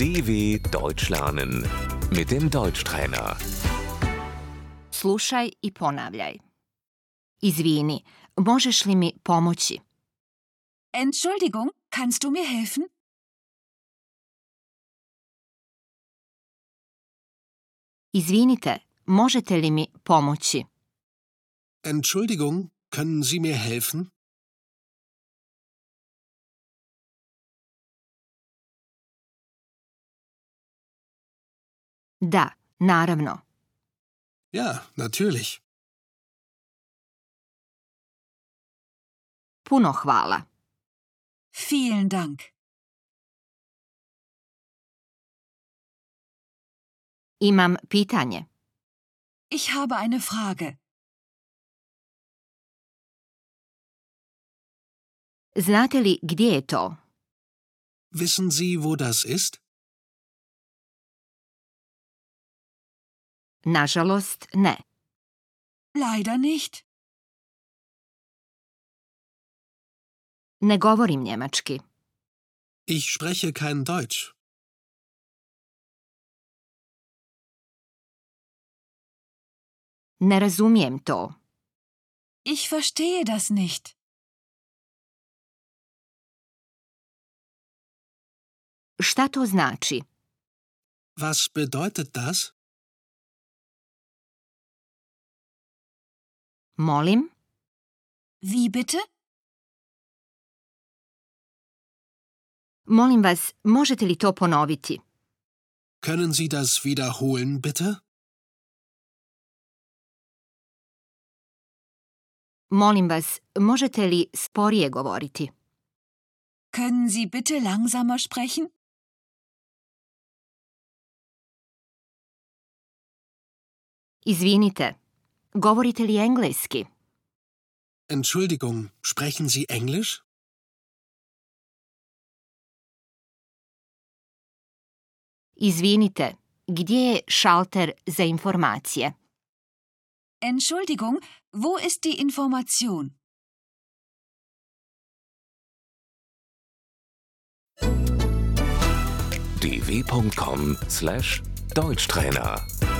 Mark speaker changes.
Speaker 1: DW Deutsch lernen mit dem Deutschtrainer.
Speaker 2: Slušaj i ponavljaj. Izvini, možeš li mi pomoći?
Speaker 3: Entschuldigung, kannst du mir helfen?
Speaker 2: Izvinite, možete li mi pomoći?
Speaker 4: Entschuldigung, können Sie mir helfen?
Speaker 2: Da, naravno.
Speaker 4: Ja, natürlich.
Speaker 2: Puno hvala.
Speaker 3: Vielen Dank.
Speaker 2: Imam pitanje.
Speaker 3: Ich habe eine Frage.
Speaker 2: Znate li gdje je to?
Speaker 4: Wissen Sie, wo das ist?
Speaker 2: Nažalost, ne.
Speaker 3: Leider nicht.
Speaker 2: Ne govorim njemački.
Speaker 4: Ich spreche kein Deutsch.
Speaker 2: Ne razumijem to.
Speaker 3: Ich verstehe das nicht.
Speaker 2: Šta to znači?
Speaker 4: Was bedeutet das?
Speaker 2: Molim,
Speaker 3: Wie bitte?
Speaker 2: molim vas, možete li to ponoviti?
Speaker 4: Können Sie das wiederholen, bitte?
Speaker 2: Molim vas, možete li sporije govoriti?
Speaker 3: Können Sie bitte langsamer sprechen?
Speaker 2: Izvinite, govorite li engleski?
Speaker 4: Entschuldigung, sprechen Sie Englisch?
Speaker 2: Izvinite, gdje je šalter za informacije?
Speaker 3: Entschuldigung, wo ist die Information?
Speaker 1: dw.com/deutschtrainer